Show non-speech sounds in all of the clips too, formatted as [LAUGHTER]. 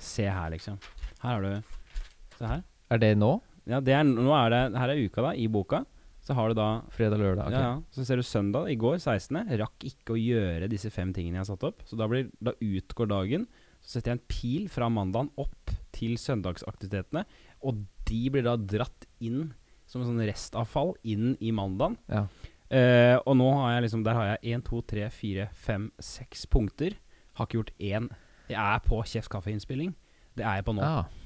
se her, liksom. Her har du Se her. Er det nå? Ja, det er, nå er det, her er uka, da. I boka. Så har du da Fredag, lørdag? ok. ja, ja. Så ser du søndag i går, 16. Rakk ikke å gjøre disse fem tingene jeg har satt opp. Så da, blir, da utgår dagen. Så setter jeg en pil fra mandagen opp til søndagsaktivitetene. Og de blir da dratt inn som en sånn restavfall inn i mandagen. Ja. Eh, og nå har jeg liksom Der har jeg 1, 2, 3, 4, 5, 6 punkter. Har ikke gjort én. Jeg er på Kjeft kaffe-innspilling. Det er jeg på nå. Ah, [LAUGHS]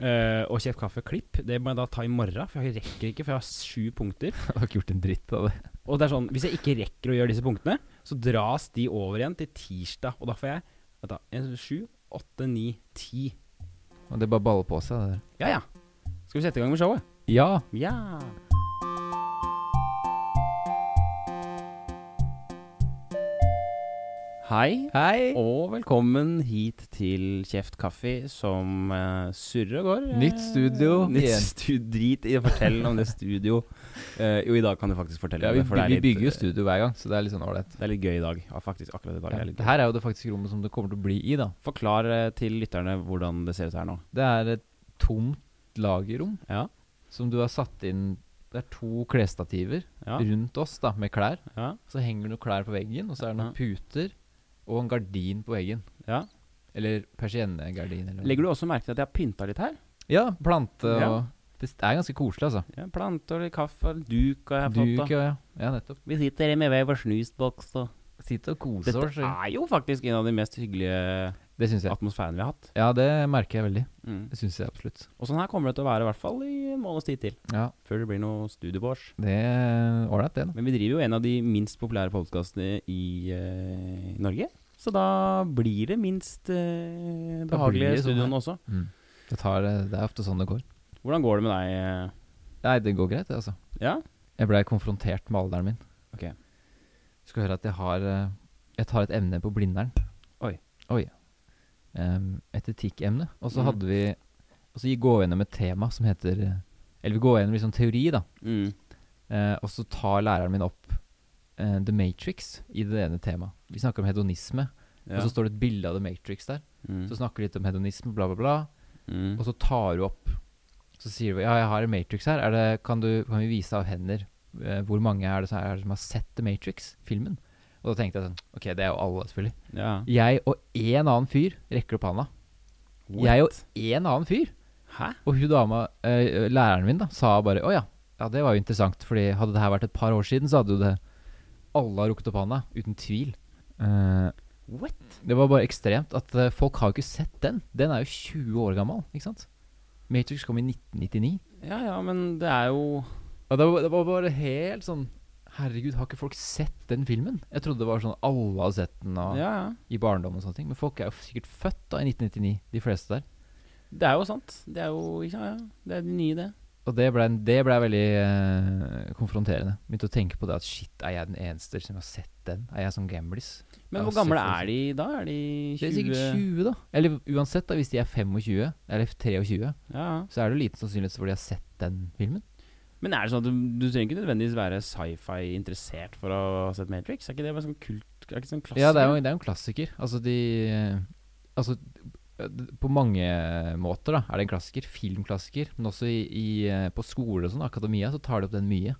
Eh, og Kjeft kaffe-klipp Det må jeg da ta i morgen, for jeg rekker ikke, for jeg har sju punkter. jeg har ikke gjort en dritt av det. Og det er sånn, hvis jeg ikke rekker å gjøre disse punktene, så dras de over igjen til tirsdag. Og da får jeg vent da, en, sju, åtte, ni, ti. Og det bare baller på seg, det der. Ja, ja. Skal vi sette i gang med showet? Ja! Ja. Hei, Hei! og velkommen hit til Kjeft kaffe, som eh, surrer og går. eh, Nytt studio Nytt igjen. stu drit i å fortelle om det studio. Eh, jo, i dag kan du faktisk fortelle Ja, om vi, det, for det er vi litt- eh, bygger jo studio hver gang, så det er litt sånn ålreit. Det er litt gøy i dag. Ja, faktisk, akkurat i dag. Ja. er litt Det her er jo det faktiske rommet som det kommer til å bli i, da. gøy. Forklar eh, til lytterne hvordan det ser ut her nå. Det er et tomt lagerrom Ja, som du har satt inn Det er to klesstativer ja, rundt oss da, med klær. ja, Så henger det noen klær på veggen, og så er det noen puter og en gardin på veggen. ja. Eller persiennegardin. Eller noe. Legger du også merke til at jeg har pynta litt her? Ja, plante og Ja. Det er ganske koselig, altså. Ja, Planter, litt kaffe, litt duk har jeg fått. Duk og da. ja. ja, nettopp. Vi sitter med hver vår snusboks og Sitt og kose Dette oss. er jo faktisk en av de mest hyggelige Det syns jeg. atmosfærene vi har hatt. Ja, det merker jeg veldig. Mm. Det syns jeg absolutt. Og sånn her kommer det til å være i hvert fall i en måneds tid til. Ja, Før det blir noe studiebårs. det er ålreit, det. da. Men vi driver jo en av de minst populære podkastene i eh, Norge. Så da blir det minst eh, Da blir behagelige det sånn studioene også. Mm. Det, tar, det er ofte sånn det går. Hvordan går det med deg? Nei, det går greit, det, altså. eh? Ja? Jeg blei konfrontert med alderen min. Ok. Du skal høre at jeg har eh, Jeg tar et emne på Blindern. Oi. Oi. Em, et etikkemne. Og så Mm. hadde vi Og så gikk- går vi gjennom et tema som heter eh, Eller vi går gjennom liksom teori, da. Mm. Eh, og så tar læreren min opp eh, The Matrix i det ene temaet. Vi snakker om hedonisme, og Ja. så står det et bilde av The Matrix der. mm. Så snakker vi litt om hedonisme, bla, bla, bla. mm. Og så tar du opp Så sier du ja, jeg har en Matrix her. Er det, kan, du, kan vi vise av hender eh, hvor mange er det, som, er det som har sett The Matrix-filmen? Og da tenkte jeg sånn Ok, det er jo alle, selvfølgelig. ja. Jeg og én annen fyr rekker opp handa. Jeg og én annen fyr. Hæ? Og hun dama, eh, læreren min, da, sa bare Å ja. ja, det var jo interessant. Fordi hadde det her vært et par år siden, så hadde jo det Alle har rukket opp handa. Uten tvil. Eh, What? det var bare ekstremt at eh, folk har jo ikke sett den. Den er jo 20 år gammel, ikke sant? Matrix kom i 1999. Ja ja, men det er jo Og det var, det var bare helt sånn Herregud, har ikke folk sett den filmen? Jeg trodde det var sånn alle har sett den og, Ja ja. i barndom og sånne ting. Men folk er jo sikkert født da i 1999, de fleste der. Det er jo sant. Det er jo Ja ja. Det er de nye, det. Og det blei ble veldig eh, konfronterende. Begynte å tenke på det at shit, er jeg den eneste som har sett den? Er jeg sånn gamlis? Men Ja, hvor gamle selvfølgelig. er de da? Er de 20? Det er sikkert 20, da. Eller uansett, da, hvis de er 25 eller 23, Ja. ja. så er det jo liten sannsynlighet for de har sett den filmen. Men er det sånn at du, du trenger ikke nødvendigvis være sci-fi-interessert for å ha sett Matrix? Er ikke det bare sånn kult Er ikke sånn klassiker? Ja, det er jo, det er jo en klassiker. Altså de eh, Altså eh, d- på mange måter da er det en klassiker. Filmklassiker. Men også i, i, eh, på skole og sånn, akademia, så tar de opp den mye.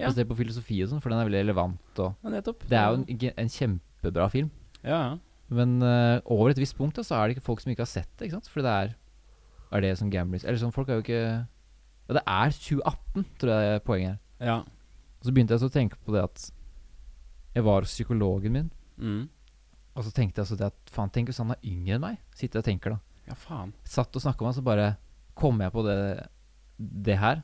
Ja. Spesielt på filosofi og sånn, for den er veldig relevant. Og Ja, nettopp. det er jo en, ge- en kjempebra film. Ja, ja. Men eh, over et visst punkt da, så er det ikke folk som ikke har sett det. ikke sant? For det er Er det som gamblers Eller sånn, folk er jo ikke Ja, det er 2018, tror jeg er poenget her. ja. Og så begynte jeg så å tenke på det at jeg var hos psykologen min. Mm. Og så tenkte jeg altså det at faen, tenk hvis han er yngre enn meg. Sitter jeg og tenker, da. ja faen. Satt og snakka med han, så bare kom jeg på det, det her.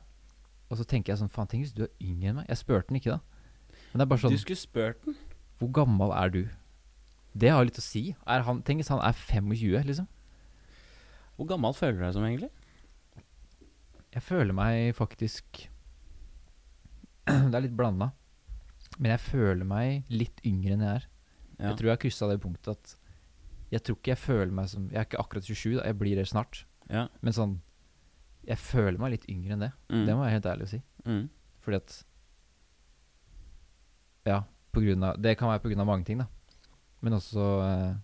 Og så tenker jeg sånn, faen, tenk hvis du er yngre enn meg. Jeg spurte han ikke, da. Men det er bare sånn, Du skulle spurt den. hvor gammel er du? Det har jo litt å si. Er han, tenk hvis han er 25, liksom. Hvor gammel føler du deg som, egentlig? Jeg føler meg faktisk [CLEARS THROAT] Det er litt blanda. Men jeg føler meg litt yngre enn jeg er. Ja. Jeg tror jeg har kryssa det punktet at jeg tror ikke jeg føler meg som Jeg er ikke akkurat 27, da. Jeg blir det snart. Ja. Men sånn Jeg føler meg litt yngre enn det. Mm. Det må jeg helt ærlig si. mm. Fordi at Ja, på grunn av Det kan være på grunn av mange ting, da. Men også eh,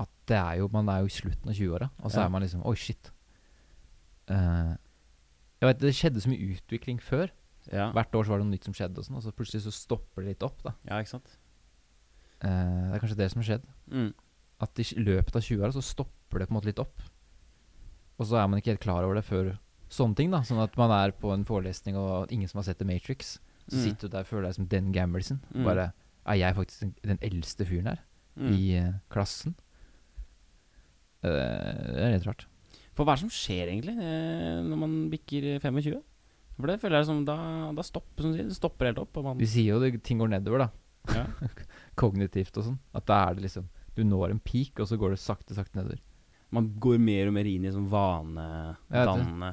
at det er jo, man er jo i slutten av 20-åra, og så Ja. er man liksom Oi, shit. Eh, jeg vet, Det skjedde så mye utvikling før. Ja. Hvert år så var det noe nytt som skjedde, og sånn, og så plutselig så stopper det litt opp. da. ja, ikke sant? Eh, det er kanskje det som har skjedd. Mm. At i løpet av 20-åra så stopper det på en måte litt opp. Og så er man ikke helt klar over det før sånne ting. da Sånn at man er på en forelesning, og ingen som har sett The Matrix, så Mm. sitter du der og føler deg som den gamblesen. Mm. Bare Er jeg faktisk den, den eldste fyren her Mm. i eh, klassen? Eh, det er litt rart. For hva er det som skjer egentlig eh, når man bikker 25? For det føler jeg som da, da stopper som du sier, det stopper helt opp. Og man, De sier jo det, ting går nedover, da. Kognitivt og sånn. At da er det liksom Du når en peak, og så går det sakte, sakte nedover. man går mer og mer inn i sånn Jeg vet det. vanedannende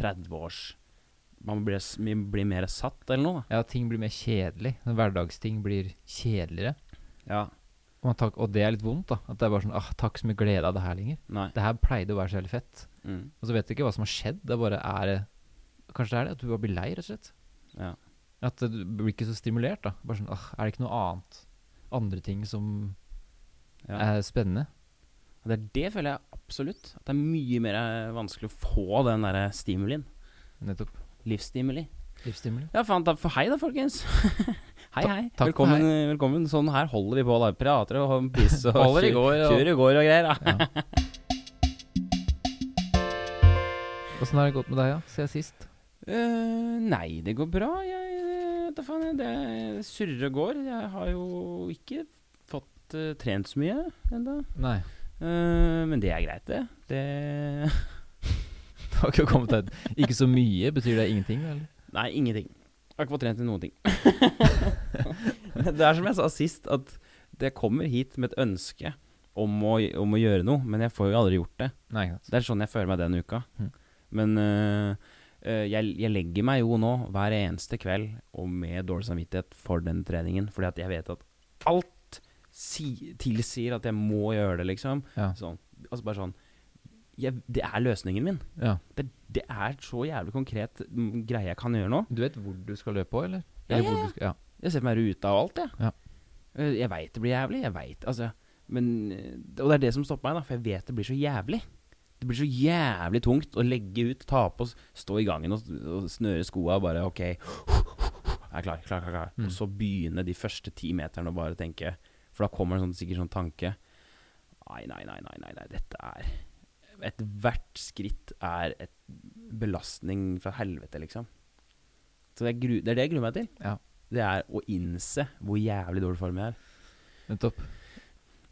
30-års Man blir, s- man blir mer satt eller noe, da. Ja, ting blir mer kjedelig. Hverdagsting blir kjedeligere. Ja. Og, man tar- og det er litt vondt, da. At det er bare sånn ah, Takk så mye glede av det her lenger. Nei. Det her pleide å være så jævlig fett. Mm. Og så vet du ikke hva som har skjedd. Det bare er Kanskje det er det at du bare blir lei, rett og slett. Ja. At du blir ikke så stimulert, da. Bare sånn ah, Er det ikke noe annet? Andre ting som Ja. er spennende? Og Det, er det føler jeg absolutt. At det er mye mer eh, vanskelig å få den derre stimulien. Nettopp. Livsstimuli. Livsstimuli. Ja, faen, da, for hei da, folkens. [LAUGHS] hei, Ta- hei. takk for velkommen, velkommen. Sånn her holder vi på da. Prater og har piss og Holder i kjø- går og- kjører i går og greier. [LAUGHS] Da. Åssen har det gått med deg, ja? siden sist? Eh, nei, det går bra. Jeg, eh, da faen, jeg- det surrer og går. Jeg har jo ikke fått eh, trent så mye ennå. Nei. [LAUGHS] men det er greit, det. det [LAUGHS] Det har ikke kommet deg ut. Ikke så mye, betyr det ingenting? Eller? Nei, ingenting. Jeg har ikke fått trent i noen ting. [LAUGHS] det er som jeg sa sist, at det kommer hit med et ønske om å, om å gjøre noe, men jeg får jo aldri gjort det. Nei, ikke sant. Det er sånn jeg føler meg den uka. Mhm. Men øh, øh, jeg, jeg legger meg jo nå hver eneste kveld og med dårlig samvittighet for den treningen, fordi at jeg vet at alt si, tilsier at jeg må gjøre det, liksom. Ja. Sånn, altså bare sånn jeg, Det er løsningen min. ja. Det, det er så jævlig konkret mm, greie jeg kan gjøre nå. Du vet hvor du skal løpe òg, eller? Ja, eller ja, ja. hvor du skal, ja. Jeg ser for meg ruta og alt, jeg. Ja. Eh, Jeg veit det blir jævlig, jeg veit altså men, eh, Og det er det som stopper meg, da, for jeg vet det blir så jævlig. Det blir så jævlig tungt å legge ut, ta på, s- stå i gangen og, og snøre skoa og bare OK, jeg er klar, klar, klar. klar. Mm. Og så begynne de første ti meterne og bare tenke For da kommer det sånn, sikkert sånn tanke Nei, nei, nei, nei, nei, nei dette er Ethvert skritt er et belastning fra helvete, liksom. Så jeg gru, det er det jeg gruer meg til. Ja. Det er å innse hvor jævlig dårlig form jeg er. Nettopp.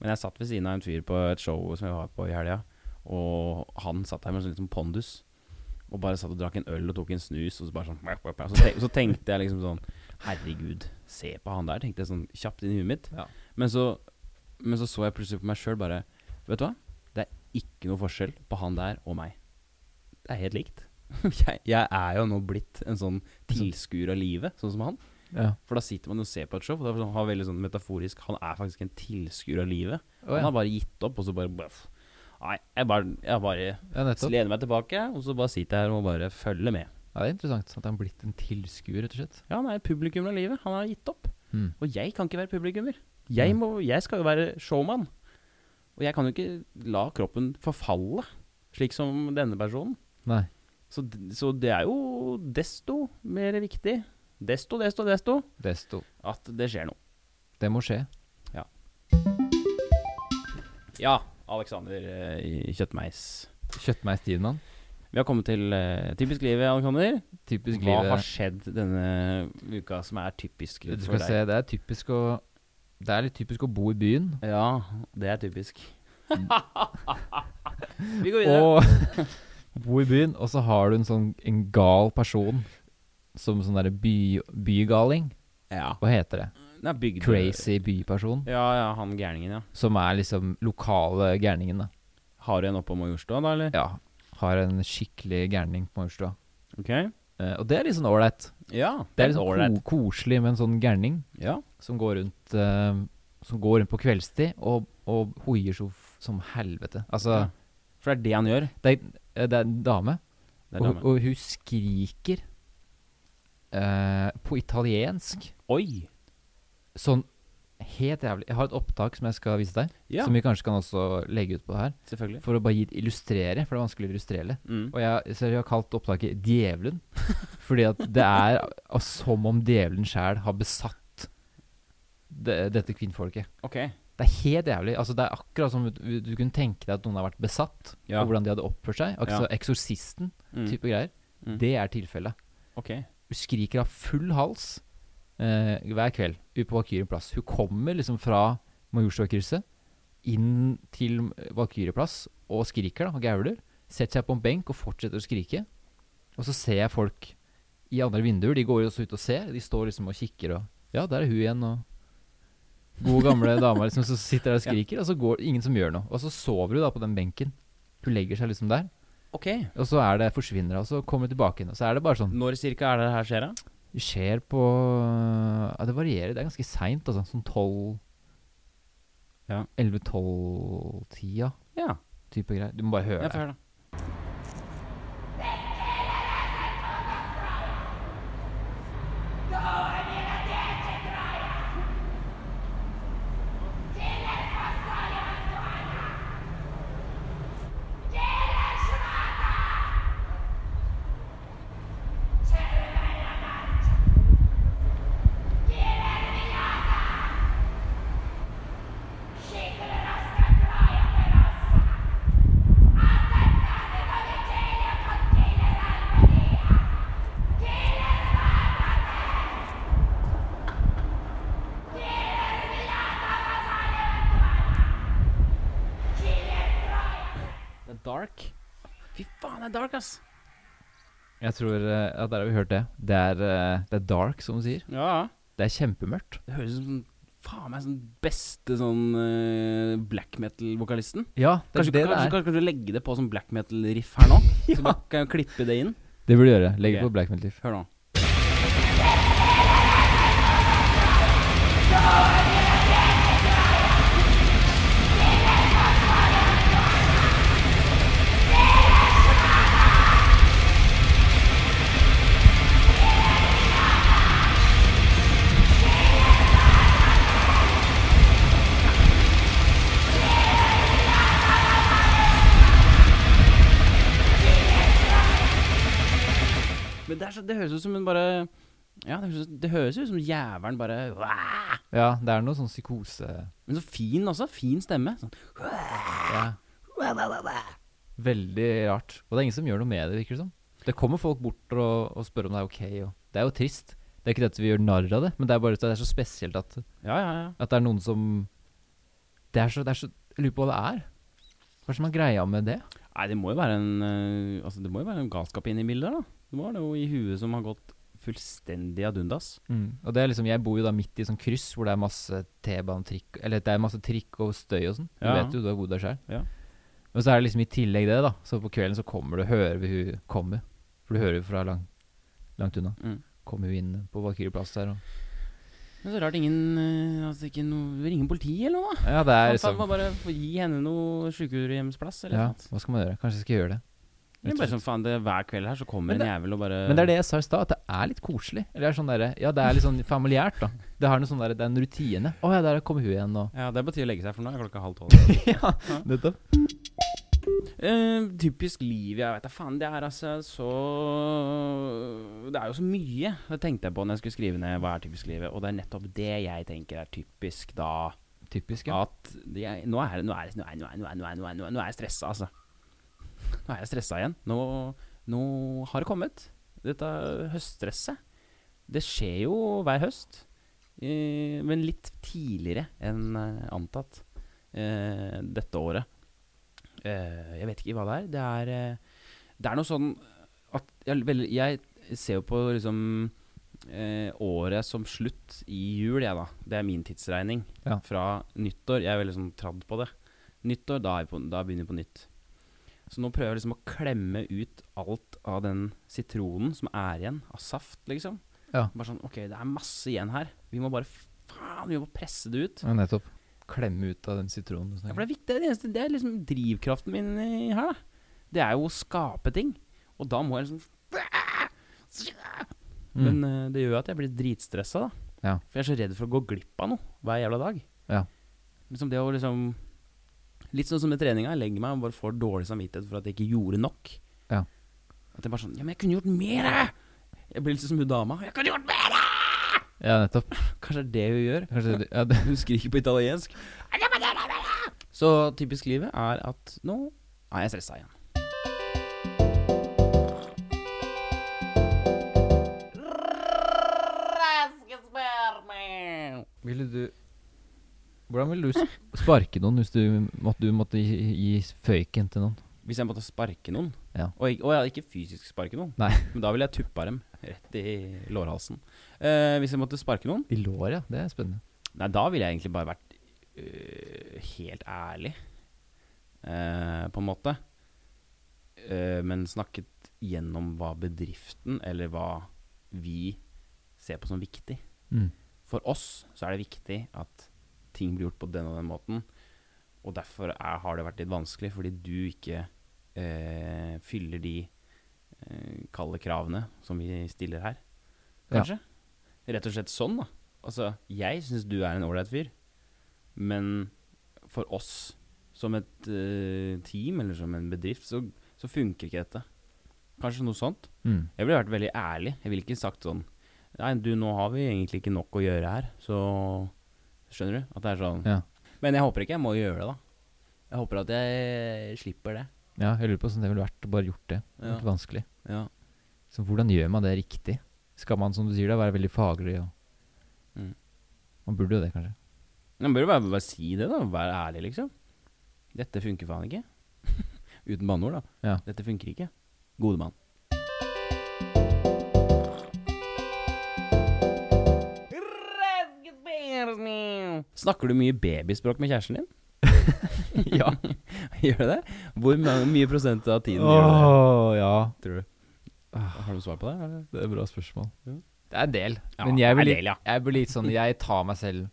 Men jeg satt ved siden av en fyr på et show som jeg var på i helga, og han satt der med en sånn liten pondus. Og bare satt og drakk en øl og tok en snus, og så bare sånn Så, tenk, så tenkte jeg liksom sånn Herregud, se på han der, tenkte jeg sånn kjapt inn i huet mitt. Ja. Men, så, men så så jeg plutselig på meg sjøl bare Vet du hva? Det er ikke noe forskjell på han der og meg. Det er helt likt. [LAUGHS] Jeg, jeg er jo nå blitt en sånn tilskuer av livet, sånn som han. Ja. For da sitter man og ser på et show, og da har veldig sånn metaforisk Han er faktisk en tilskuer av livet. Å, Han har ja. bare gitt opp, og så bare bøff. Nei, jeg bare, jeg bare ja, nettopp. lener meg tilbake, og så bare sitter jeg her og bare følger med. Ja, det er interessant at han er blitt en tilskuer, rett og slett. Ja, han er publikum av livet. Han har gitt opp. Mm. Og jeg kan ikke være publikummer. Jeg, Nei. må, jeg skal jo være showman. Og jeg kan jo ikke la kroppen forfalle, slik som denne personen. Nei. Så, d- så det er jo desto mer viktig, desto, desto, desto, Desto. at det skjer noe. Det må skje. Ja, Alexander eh, i Kjøttmeis. Kjøttmeistiden han. Vi har kommet til eh, typisk livet, Alexander. Typisk Hva livet. har skjedd denne uka som er typisk Du for skal deg? se, det er typisk å Det er litt typisk å bo i byen. Ja, det er [LAUGHS] typisk. Vi går videre. Og [LAUGHS] bo i byen, og så har du en sånn en gal person som sånn derre by, bygaling. ja. Hva heter det? Den er bygd Crazy byperson. Ja, ja, han gærningen, ja. Som er liksom lokale gærningen, da. Har du en oppå Majorstua, da, eller? Ja. Har en skikkelig gærning på Majorstua. Ok. Eh, og det er litt sånn ålreit. Ja, Det er litt sånn ko koselig med en sånn gærning Ja. som går rundt eh, Som går rundt på kveldstid og, og hoier så f- som helvete. Altså, Ja. For det er det han gjør. det, er, eh, det er en dame, Det er og, damen. og hun skriker eh, på italiensk. Oi! Sånn helt jævlig. Jeg har et opptak som jeg skal vise deg, Ja, som vi kanskje kan også legge ut på her. selvfølgelig. For å bare gi- illustrere, for det er vanskelig å illustrere. Mm. Og jeg, så jeg har kalt opptaket 'Djevelen', [LAUGHS] fordi at det er a- som om djevelen sjæl har besatt det, dette kvinnfolket. Ok. Det er helt jævlig. Altså, det er akkurat som du, du kunne tenke deg at noen har vært besatt, Ja. og hvordan de hadde oppført seg. Altså Ja. Eksorsisten Mm. type greier. Mm. Det er tilfellet. Ok. Hun skriker av full hals eh, hver kveld ute på Valkyrien plass. Hun kommer liksom fra Majorstuakrysset inn til Valkyrien plass og skriker da, og gauler. Setter seg på en benk og fortsetter å skrike. Og så ser jeg folk i andre vinduer. De går jo også ut og ser. De står liksom og kikker og Ja, der er hun igjen, og Gode, gamle dama liksom, som sitter der og skriker, og så går ingen som gjør noe. Og så sover hun da på den benken. Hun legger seg liksom der. Ok. Og så er det forsvinner hun, og så kommer hun tilbake igjen. Og så er det bare sånn Når cirka er det her skjer, da? det skjer på ja, Det varierer. Det er ganske seint, altså. Sånn 12 Ja. 11-12-tida Ja. type greier. Du må bare høre Jeg får det. høre, da. Det er dark. Fy faen, det er dark, ass. Jeg tror eh, ja, der har vi hørt det. Det er, eh, det er dark, som hun sier. Ja, ja. Det er kjempemørkt. Det høres ut som faen meg sånn beste sånn eh, black metal-vokalisten. Ja, det er Kanskje, det kanskje, det er. kanskje, du legge det på som black metal-riff [LAUGHS] her nå? Så bare kan jeg klippe det inn. Det burde du gjøre. Legg det Ok. på Black Metal Leaf. Hør nå. Men det, er så, det høres ut som hun bare Ja, det høres, det høres ut som jævelen bare «Wah!» Ja, det er noe sånn psykose Men så fin også. Fin stemme. Sånn. ja. Veldig rart. Og det er ingen som gjør noe med det, virker det som. Det kommer folk bort og, og spør om det er ok. Og det er jo trist. Det er ikke dette vi gjør narr av det, men det er bare at det er så spesielt at Ja, ja, ja. At det er noen som Det er så, det er så Jeg lurer på hva det er. Hva er det som er greia med det? Nei, det må jo være en eh, Altså, det må jo være en galskap inne i bildet her, da. Det må være noe i huet som har gått fullstendig ad undas. Og det er liksom Jeg bor jo da midt i sånn kryss hvor det er masse T-banetrikk Eller det er masse trikk og støy og sånn. Du Ja. vet jo, du har bodd der sjøl. Ja. Og så er det liksom i tillegg det, da. Så på kvelden så kommer du, hører vi hun komme. For du hører jo fra lang, langt unna. Mm. Kommer hun inn på Valkyrje plass der og Men så rart ingen eh, Altså, ikke noe Ringe politiet eller noe, da? Ja, det er Faen, faen, liksom må bare få gi henne noe sykehjemsplass eller Ja, noe. sånt. hva skal man gjøre? Kanskje jeg skal gjøre det. Det er bare sånn, faen, det, Hver kveld her så kommer Men en jævel og bare Men det er det jeg sa i stad, at det er litt koselig. Eller det er sånn derre Ja, det er litt sånn familiært, da. Det har noe sånn derre Det er en rutine. Å ja, der kommer hun igjen, og Ja, det er på tide å legge seg, for nå er klokka halv [LAUGHS] tolv. Nettopp. Eh, typisk liv, jeg veit da faen. Det er altså så Det er jo så mye. Det tenkte jeg på når jeg skulle skrive ned hva er typisk livet. Og det er nettopp det jeg tenker er typisk da. Typisk, ja. At jeg, nå er det- nå er det- nå er- nå er- nå er- nå er- nå er- nå er- nå er jeg stressa, altså. Nå er jeg stressa igjen. Nå, nå har det kommet. Dette høststresset. Det skjer jo hver høst, eh, men litt tidligere enn eh, antatt eh, dette året. Eh, jeg vet ikke hva det er. Det er, eh, det er noe sånn at jeg, vel, jeg ser jo på liksom eh, året som slutt i jul, jeg, da. Det er min tidsregning Ja. fra nyttår. Jeg er veldig sånn tradd på det. Nyttår, da, er jeg på, da begynner jeg på nytt. Så nå prøver jeg liksom å klemme ut alt av den sitronen som er igjen av saft, liksom. Ja. Bare sånn OK, det er masse igjen her. Vi må bare f- Faen, vi må presse det ut. ja. Nettopp. Klemme ut av den sitronen. sånn. Ja, for det er viktig. Det er, det eneste, det er liksom drivkraften min i- her, da. Det er jo å skape ting. Og Mm. da må jeg liksom Men eh, det gjør jo at jeg blir dritstressa, da. Ja. For jeg er så redd for å gå glipp av noe hver jævla dag. Ja. Liksom det å liksom Litt sånn som med treninga. Jeg legger meg og bare får dårlig samvittighet for at jeg ikke gjorde nok. Ja. At jeg bare sånn Ja, men jeg kunne gjort mer! Jeg blir litt sånn som hun dama. Jeg kunne gjort mer! Ja, nettopp. Kanskje det er det hun gjør. Kanskje det, ja, det, [LAUGHS] Hun skriker på italiensk. Så typisk livet er at nå er jeg stressa igjen. ville du Hvordan ville du s- sparke noen hvis du måtte, du måtte gi, gi føyken til noen? Hvis jeg måtte sparke noen Ja. Og ik- å ja, ikke fysisk sparke noen, Nei. men da ville jeg tuppa dem rett i lårhalsen. Eh, hvis jeg måtte sparke noen I lår, ja. Det er spennende. Nei, da ville jeg egentlig bare vært øh, helt ærlig, eh, på en måte. Eh, men snakket gjennom hva bedriften, eller hva vi ser på som viktig. Mm. For oss så er det viktig at ting blir gjort på den og den måten. Og derfor er, har det vært litt vanskelig, fordi du ikke eh, fyller de eh, kalde kravene som vi stiller her, Ja. kanskje. Rett og slett sånn, da. Altså, jeg syns du er en ålreit fyr, men for oss som et eh, team eller som en bedrift, så, så funker ikke dette. Kanskje noe sånt. Mm. Jeg ville vært veldig ærlig. Jeg ville ikke sagt sånn Nei, du, nå har vi egentlig ikke nok å gjøre her, så Skjønner du? At det er sånn. Ja. Men jeg håper ikke jeg må gjøre det, da. Jeg håper at jeg slipper det. ja. Jeg lurer på hvordan det ville vært å bare gjort det. Det Ja. er vanskelig. Ja. Så hvordan gjør man det riktig? Skal man, som du sier, da, være veldig faglig? Og Mm. Man burde jo det, kanskje. Men bør jo bare, bare si det, da. Vær ærlig, liksom. Dette funker faen ikke. [LAUGHS] Uten banneord, da. Ja. Dette funker ikke. Gode mann. Snakker du mye babyspråk med kjæresten din? [LAUGHS] [LAUGHS] ja. Gjør du det? Hvor ma- mye prosent av tiden gjør du det? Åh, ja. Tror du? Har du svar på det? eller? Det er et bra spørsmål. Ja. Det er en del. Ja, men jeg blir, det er litt, del, ja. jeg blir litt sånn Jeg tar meg selv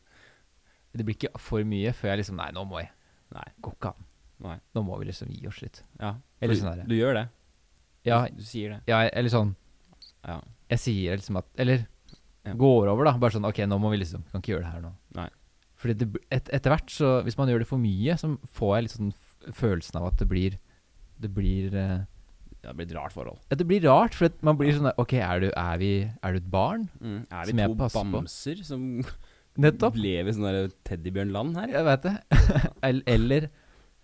Det blir ikke for mye før jeg liksom Nei, nå må jeg. Nei. Går ikke an. Nei. Nå må vi liksom gi oss litt. Ja. Eller Du- sånn er det. Du gjør det? Ja, Du, du sier det? ja eller sånn Ja. Jeg sier liksom at Eller Ja. går over, da. Bare sånn OK, nå må vi liksom Kan ikke gjøre det her nå. Nei. Fordi det, bl- et, etter hvert, så hvis man gjør det for mye, så får jeg litt sånn f- følelsen av at det blir Det blir eh, Det blir et rart forhold. ja, Det blir rart, for at man blir sånn der, OK, er du, er, vi, er du et barn? Mm. Er vi Som jeg to passer på. bamser som Nettopp. [LAUGHS] lever i sånn der teddybjørnland her? Jeg veit det. [LAUGHS] El- Eller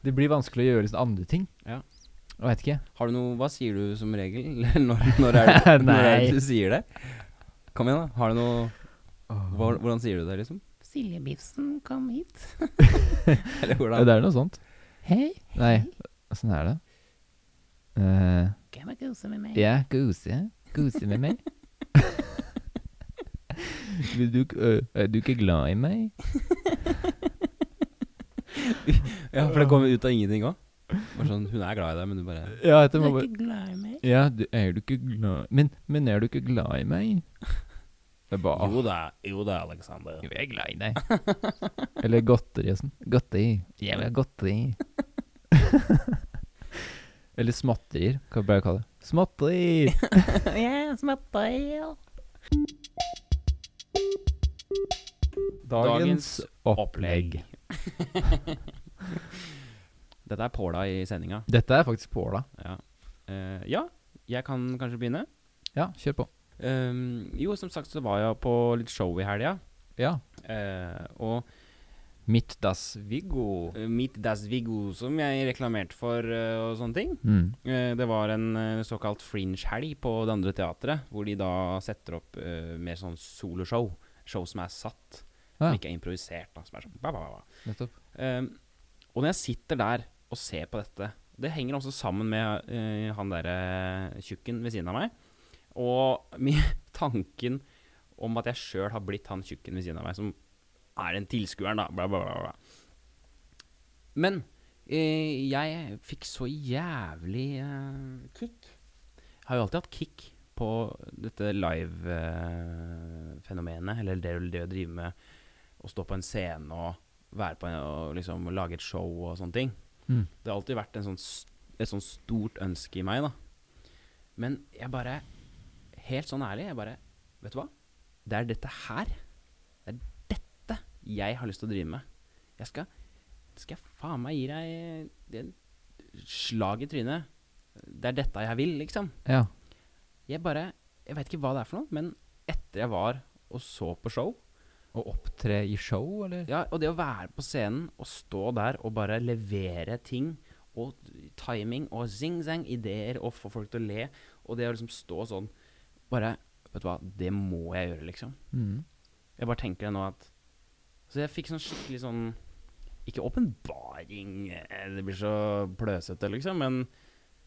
det blir vanskelig å gjøre liksom andre ting. Ja. Jeg veit ikke. Har du noe Hva sier du som regel? [LAUGHS] Eller når, når [LAUGHS] er det når er Nei. det du sier det? Kom igjen, da. Har du noe hva, Hvordan sier du det, liksom? [LAUGHS] Silje Bifsen, kom hit. Eller Ja, hvordan? det er noe sånt. Hei. Nei, åssen er det? Eh, Kan jeg kose med meg? ja, kose. Kose med meg. [LAUGHS] Vil du, ikke- øh, er du ikke glad i meg? Ja, for det kommer ut av ingenting òg. Sånn, hun er glad i deg, men du bare Ja, dette må bare ikke glad i meg? [LAUGHS] Ja, du, er du ikke glad Men, men er du ikke glad i meg? Det er bare Jo da, jo da, Alexander. Jo, jeg er glad i deg. [LAUGHS] Eller godteri og sånn. Godteri. Jeg vil ha [LAUGHS] godteri. Eller småtterier, kan vi bare kalle det. [LAUGHS] Småtteri! Jeg er smatter. Dagens opplegg. Dette er Påla i sendinga. Dette er faktisk påla. Ja. Eh, ja, jeg kan kanskje begynne. Ja, kjør på. Ehm, jo, som sagt så var jeg på litt show i helga. Ja. Eh, og Mitt das Viggo. eh, Meet Das Viggo, som jeg reklamerte for eh, og sånne ting. Mm. Eh, Det var en eh, såkalt fringe-helg på det andre teatret, hvor de da setter opp eh, mer sånn soloshow. Show som er satt, Ja. som ikke er improvisert. Da, som er sånn ba, ba, ba, ba. Nettopp. Eh, og når jeg sitter der og ser på dette Det henger også sammen med eh, han derre eh, tjukken ved siden av meg. Og [LAUGHS] min tanken om at jeg sjøl har blitt han tjukken ved siden av meg, som er den tilskueren, da. Bla, bla, bla, bla. Men eh, jeg fikk så jævlig eh, kick. Jeg har jo alltid hatt kick på dette live-fenomenet, eller det, det å drive med å stå på en scene og være på en, og liksom lage et show og sånne ting. Mm. Det har alltid vært en sånn, s- et sånn stort ønske i meg, da. Men jeg bare Helt sånn ærlig, jeg bare Vet du hva? Det er dette her jeg har lyst til å drive med. Jeg skal, skal jeg faen meg gi deg en slag i trynet. Det er dette jeg vil, liksom. Ja. Jeg bare Jeg vet ikke hva det er for noe, men etter jeg var og så på show Å opptre i show, eller? Ja, og det å være på scenen og stå der og bare levere ting og timing og zing-zang, ideer og få folk til å le, og det å liksom stå sånn Bare Vet du hva, det må jeg gjøre, liksom. Mm. Jeg bare tenker det nå at Så jeg fikk sånn skikkelig sånn Ikke åpenbaring, eh, det blir så pløsete, liksom, men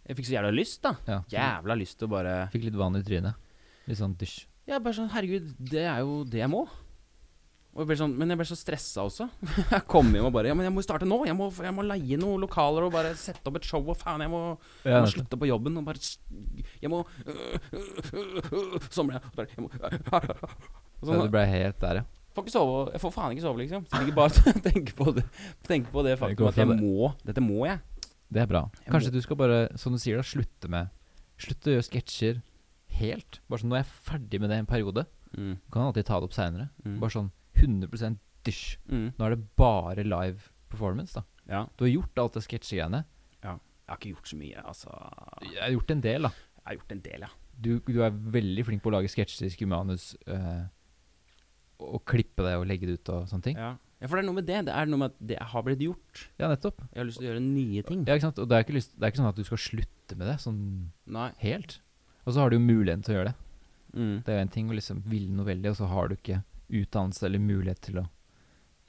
jeg fikk så jævla lyst, da. ja. Jævla lyst til å bare Fikk litt vann i trynet. Litt sånn dysj. Ja, bare sånn, herregud, det er jo det jeg må. Og jeg ble sånn, men jeg ble så stressa også. [LAUGHS] Jeg kom hjem og bare Ja, men jeg må jo starte nå! Jeg må, jeg må leie noen lokaler og bare sette opp et show, og faen, jeg må, jeg må slutte på jobben og bare Jeg må øh, Sånn ble jeg. og bare, jeg må, øh, [LAUGHS] og Så sånn, du ble helt der, ja. får ikke sove, jeg får faen ikke sove, liksom. Så jeg ligger bare og [LAUGHS] tenker på det, tenker på det faktum at jeg må Dette må jeg. Det er bra. Jeg Kanskje må- du skal bare, som du sier, da, slutte med Slutte å gjøre sketsjer helt. Bare sånn, Nå er jeg ferdig med det en periode. Mm, Du kan alltid ta det opp seinere. Mm. Bare sånn 100 dysj. mm. Nå er det bare live performance, da. Ja. Du har gjort alt det sketsjegreiene. Jeg har ikke gjort så mye, altså. Jeg Jeg har gjort en del, da. har gjort en del, ja. Du, du er veldig flink på å lage sketsjer, skrive manus, eh, og klippe det og legge det ut og sånne ting. Ja, ja. Ja, for det er noe med det. Det er noe med at det har blitt gjort. nettopp. Jeg har lyst til å gjøre nye ting. Ja, ikke sant? Og det er ikke, lyst, det er ikke sånn at du skal slutte med det sånn Nei. helt. Og så har du jo muligheten til å gjøre det. Mm. Det er jo en ting å liksom ville noe veldig, og så har du ikke utdannelse eller mulighet til å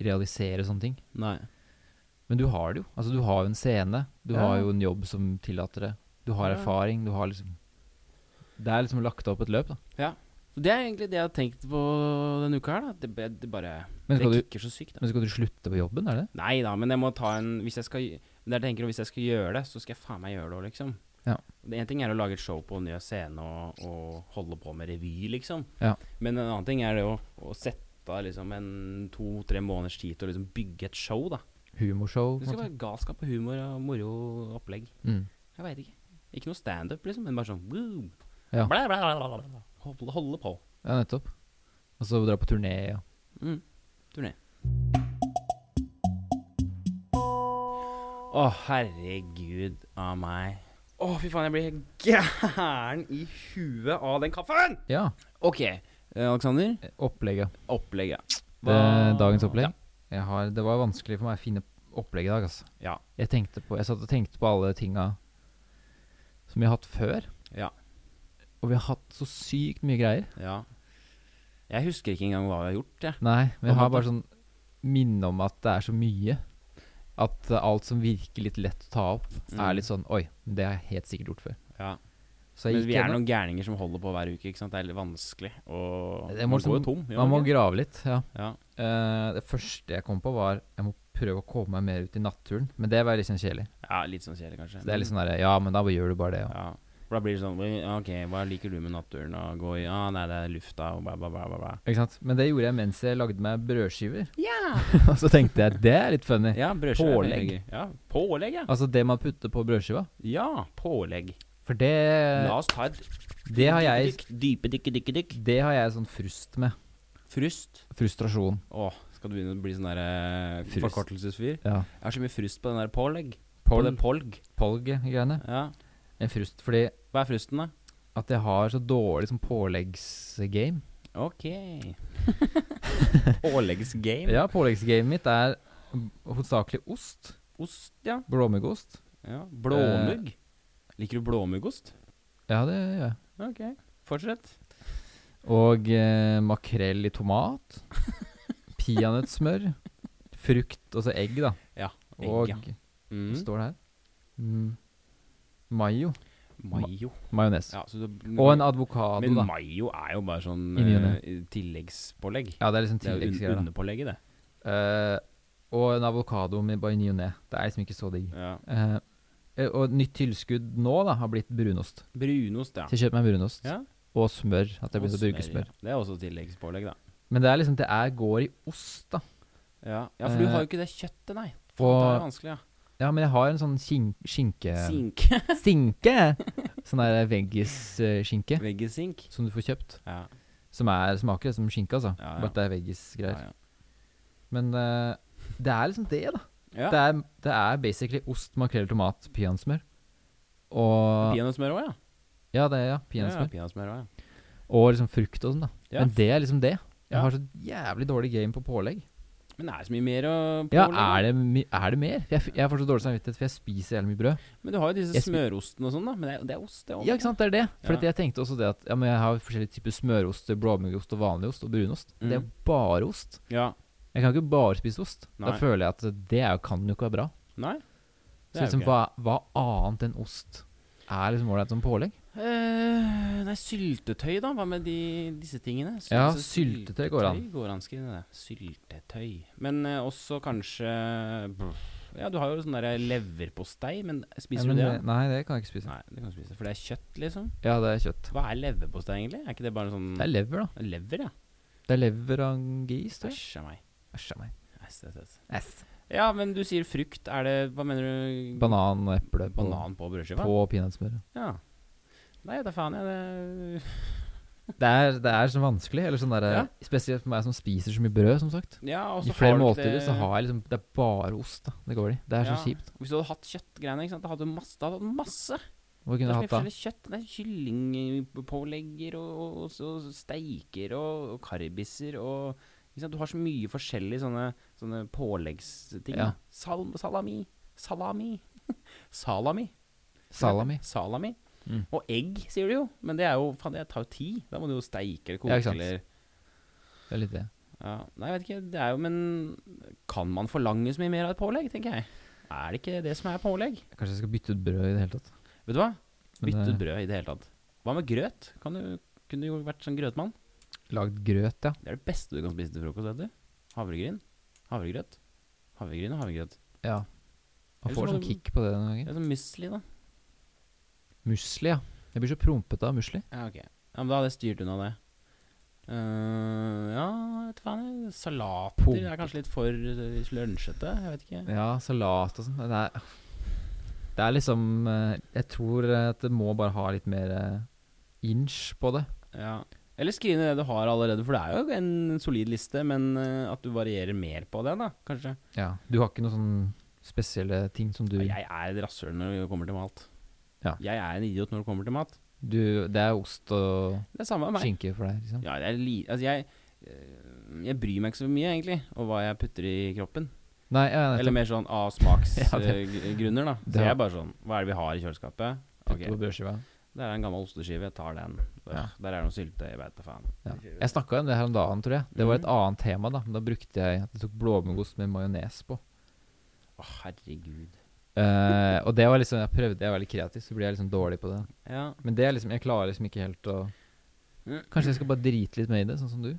realisere sånne ting. Nei. Men du har det jo. Altså, du har jo en scene. Du Ja. har jo en jobb som tillater det. Du har Ja. erfaring. Du har liksom Det er liksom lagt opp et løp, da. Så det er egentlig det jeg har tenkt på denne uka her. da Det, be- det bare Det Men skal, du, kicker så sykt. da men skal du slutte på jobben, er det det? Nei da, men jeg må ta en Hvis jeg skal Men jeg tenker at hvis jeg skal gjøre det, så skal jeg faen meg gjøre det òg, liksom. Ja. Det en ting er å lage et show på en ny scene og, og holde på med revy, liksom. Ja. Men en annen ting er det å, å sette av liksom en to-tre måneders tid til å liksom bygge et show, da. Humorshow? Det på en skal måte. være galskap og humor og moro opplegg. Mm. Jeg veit ikke. Ikke noe standup, liksom, men bare sånn boom. Ja. Bla, bla, bla, bla, bla. Holde, holde på. ja, nettopp. Og så dra på turné og Mm. Turné. Å, herregud av meg. Å, fy faen, jeg blir helt gæren i huet av den kaffen! Ja. OK, eh, Alexander. eh, Opplegget. Opplegget. Det, Hva- dagens opplegg. Jeg har, det var vanskelig for meg å finne opplegg i dag, altså. Ja. Jeg, tenkte på, jeg satt og tenkte på alle tinga som vi har hatt før. Ja. Og vi har hatt så sykt mye greier. ja. ja. Jeg husker ikke engang hva vi har gjort, jeg. Nei, Hva men jeg har hadde- bare sånn minne om at det er så mye. At eh, alt som virker litt lett å ta opp, Mm. er litt sånn Oi, det har jeg helt sikkert gjort før. Ja. Så jeg Men vi gikk er gjennom- noen gærninger som holder på hver uke, ikke sant. Det er litt vanskelig og Det må Man liksom- går jo tom. gjør Man må man ikke? grave litt, ja. ja. Eh, det første jeg kom på, var jeg må prøve å komme meg mer ut i naturen. Men det var litt sånn kjedelig. ja, litt sånn kjedelig, kanskje. Så det er litt sånn der, Ja, men da bare gjør du bare det. Og. Ja. For da blir det sånn «Oi, OK, hva liker du med naturen? Å gå i Ja, nei, det er lufta og bla, bla, bla, bla, bla. Ikke sant? Men det gjorde jeg mens jeg lagde meg brødskiver. Ja! [LAUGHS] og så tenkte jeg det er litt funny. ja brødskive. Pålegg. veldig gøy. Ja, pålegg, ja. Altså det man putter på brødskiva. Ja, pålegg. For det, La oss ta et Eh, det har jeg dykke, dykke, dykke, dykke, dykke. Det har jeg sånn frust med. Frust. Frustrasjon. Å, skal du begynne å bli sånn der eh, Frust. forkortelsesfyr? Ja. Jeg har så mye frust på den der pålegg. På det Polg, polg. polg-greiene. Ja. En frust fordi Hva er frusten, da? at jeg har så dårlig sånn påleggsgame. [LAUGHS] OK. Påleggsgame. Ja, påleggsgamet mitt er hovedsakelig ost. Ost, ja. Blåmuggost. ja. Blåmugg. Eh. Liker du blåmuggost? Ja, det gjør jeg. OK. Fortsett. Og eh, makrell i tomat. [LAUGHS] Peanøttsmør. Frukt, og så egg, da. Ja, egg, og ja. Hva Mm. står det her? Mm. Mayo. Mayo. Majones. Ja, så det, Og en avokado, Men da. mayo er jo bare sånn I ny og ne. eh, tilleggspålegg. Ja, det er liksom Det er jo un tilleggsgreier, da. underpålegget, det. Eh, og en avokado med bare ny og ne. Det er liksom ikke så digg. Ja. Eh, eh, og et nytt tilskudd nå da har blitt brunost. Brunost, ja. Så jeg kjøper meg brunost. ja. Og smør. At jeg og begynte å bruke smør, smør. ja. Det er også tilleggspålegg, da. Men det er liksom Det er går i ost, da. Ja. ja, for du Eh, har jo ikke det kjøttet, nei. Faen, det er Og vanskelig, ja. Ja, men jeg har en sånn skin skinke... Sink. Stinke! Sånn [LAUGHS] der veggisskinke Veggisink. som du får kjøpt. Ja. Som er, smaker som skinke, altså. Ja, ja. Bare at det er Ja, veggisgreier. ja. Men eh, det er liksom det, da. Ja. Det, er, det er basically ost, makrell, tomat, peanøttsmør. Og Peanøttsmør òg, ja. Ja, det er ja, Ja, peanøttsmør. peanøttsmør også, ja. Og liksom frukt og sånn, da. Ja. Men det er liksom det. Jeg Ja. har så jævlig dårlig game på pålegg. Men det er så mye mer å Ja, er det, mi- er det mer? Jeg, f- jeg får så dårlig samvittighet, for jeg spiser jævlig mye brød. Men du har jo disse Jeg spi- smørostene og sånn, da. Men det er, det er ost, det òg. Ja, ikke sant, det er det. For Ja. at jeg tenkte også det at ja, men jeg har forskjellige typer smørost, blåmuggost og vanlig ost og brunost. Det er Mm. bare ost. Ja. Jeg kan ikke bare spise ost. Da Nei. føler jeg at det er, jo- kan jo ikke være bra. Nei. Så liksom, hva, hva annet enn ost er liksom ålreit som pålegg? Eh, nei, syltetøy, da? Hva med de, disse tingene? Syl- Ja, altså, syltetøy går an. Syltetøy går an, skriv det. Syltetøy. Men eh, også kanskje brr, Ja, du har jo sånn derre leverpostei, men spiser Ja, men du det? det- Nei, det kan jeg ikke spise. Nei, det kan du spise. For det er kjøtt, liksom. Ja, det er kjøtt. Hva er leverpostei, egentlig? Er ikke det bare sånn Det er lever, da. Lever, ja. Det er lever av en gris, tror jeg. Æsj a meg. Æsj a meg. Æsj, æsj, æsj. Æsj. Ja, men du sier frukt. Er det Hva mener du? Banan og eple på, Banan på brødskiva? på peanøttsmør. Ja. Nei, da faen jeg det Det er, det er så vanskelig. Eller sånn der, Ja. Spesielt for meg som spiser så mye brød, som sagt. Ja, og I så har flere du ikke måltider det- så har jeg liksom Det er bare ost, da. Det går i. Det er så Ja. kjipt. Hvis du hadde hatt kjøttgreiene, ikke sant? da hadde du masse. Da hadde du masse. Det er Hva så kunne jeg mye hatt da? forskjellig kjøtt. Det er kyllingpålegger og, og, og, så steiker og, og karbiser og ikke sant? Du har så mye forskjellige sånne, sånne påleggsting. Ja. da. Sal salami. Salami. [LAUGHS] salami. Salami. Salami. Mm. Og egg, sier du jo. Men det er jo Faen, det tar jo tid. Da må du jo steike eller Ja, koke ikke sant. eller Det er litt det. ja. Nei, jeg vet ikke. Det er jo Men kan man forlange så mye mer av et pålegg, tenker jeg. Er det ikke det som er pålegg? Kanskje jeg skal bytte ut brød i det hele tatt. Vet du hva? Men eh, Bytte det- ut brød i det hele tatt. Hva med grøt? Kan du, kunne du jo vært sånn grøtmann? Lagd grøt, ja. Det er det beste du kan spise til frokost, vet du. Havregryn. Havregrøt. Havregryn og havregrøt. Ja. Man Ellers får må sånn du- kick på det noen Det ganger. er sånn musli, da. Musli, ja. Jeg blir så prompete av musli. Ja, ok. Ja, men da hadde jeg styrt unna det. Eh, ja, vet du faen. jeg. Salater er kanskje litt for eh, lunsjete. Jeg vet ikke. Ja, salat og sånn. Det er, det er liksom eh, Jeg tror at det må bare ha litt mer eh, inch på det. Ja. Eller skriv ned det du har allerede, for det er jo en solid liste, men eh, at du varierer mer på det, da, kanskje. Ja. Du har ikke noen sånne spesielle ting som du Ja, jeg er et rasshøl når det kommer til mat. Ja. Jeg er en idiot når det kommer til mat. Du, det er ost og Det er samme med meg. skinke for deg, liksom? Ja, det er li altså jeg, eh, jeg bryr meg ikke så mye, egentlig, om hva jeg putter i kroppen. Nei, ja, nettopp. Eller mer sånn av smaksgrunner, [LAUGHS] Ja, det- da. det Så jeg har- er bare sånn Hva er det vi har i kjøleskapet? Ok, Putte på brødskiva. Der er en gammel osteskive, jeg tar den. Øh, Ja. Der er det noe syltetøy, jeg veit da faen. Ja. Jeg snakka om det her om dagen, tror jeg. Det var et Mhm. annet tema, da. Men Da brukte jeg at jeg tok blåmuggost med majones på. Å, herregud. Eh, og det var liksom Jeg prøvde, jeg var litt kreativ, så blir jeg liksom dårlig på det. Ja. [LAUGHS] Men det er liksom Jeg klarer liksom ikke helt å Mm. Kanskje jeg skal bare drite litt med i det, sånn som du?